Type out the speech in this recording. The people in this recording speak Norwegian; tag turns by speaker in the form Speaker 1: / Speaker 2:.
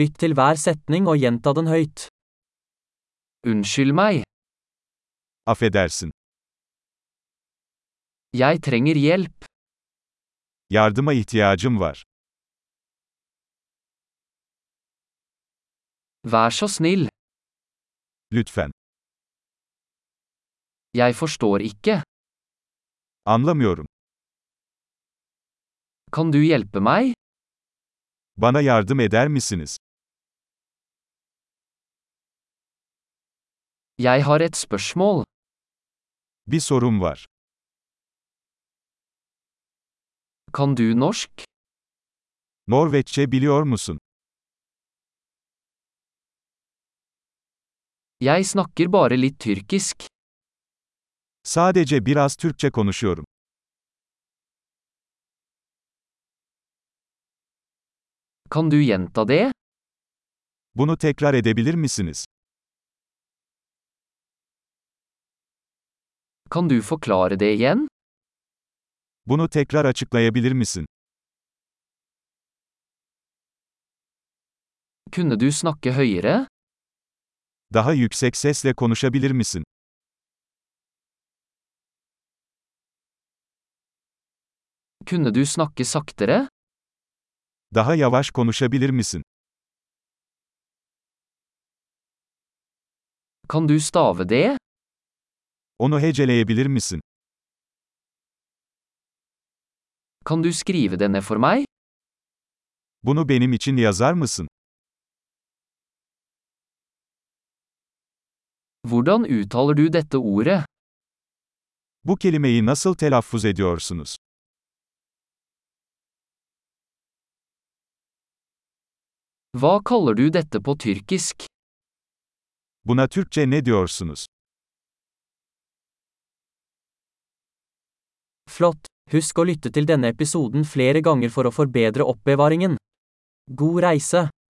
Speaker 1: Lytt til hver setning og gjenta den høyt. Unnskyld meg,
Speaker 2: Affedersin.
Speaker 1: jeg trenger hjelp.
Speaker 2: Yardıma ihtiyacım var.
Speaker 1: Vær så snill,
Speaker 2: Lütfen.
Speaker 1: jeg forstår ikke.
Speaker 2: Anlamıyorum.
Speaker 1: Kan du hjelpe meg?
Speaker 2: Bana yardım eder misiniz?
Speaker 1: Jeg har et spørsmål.
Speaker 2: Bir sorum var.
Speaker 1: Kan du norsk?
Speaker 2: Norveççe biliyor musun?
Speaker 1: Jeg snakker bare litt tyrkisk.
Speaker 2: Sadece biraz Türkçe konuşuyorum.
Speaker 1: Kan du gjenta det?
Speaker 2: Bunu tekrar edebilir misiniz?
Speaker 1: Kan du forklare det igjen?
Speaker 2: Bunu tekrar açıklayabilir misin?
Speaker 1: Kunne du snakke høyere?
Speaker 2: Daha yüksek sesle konuşabilir misin?
Speaker 1: Kunne du snakke saktere?
Speaker 2: Daha yavaş konuşabilir misin?
Speaker 1: Kan du stave det?
Speaker 2: Onu heceleyebilir misin?
Speaker 1: Kan du skrive det ned for meg?
Speaker 2: Bunu benim için yazar mısın?
Speaker 1: Hvordan uttaler du dette ordet?
Speaker 2: Bu kelimeyi nasıl telaffuz ediyorsunuz?
Speaker 1: Hva kaller du dette på tyrkisk?
Speaker 2: Buna Türkçe ne diyorsunuz?
Speaker 1: Flott! Husk å lytte til denne episoden flere ganger for å forbedre oppbevaringen. God reise!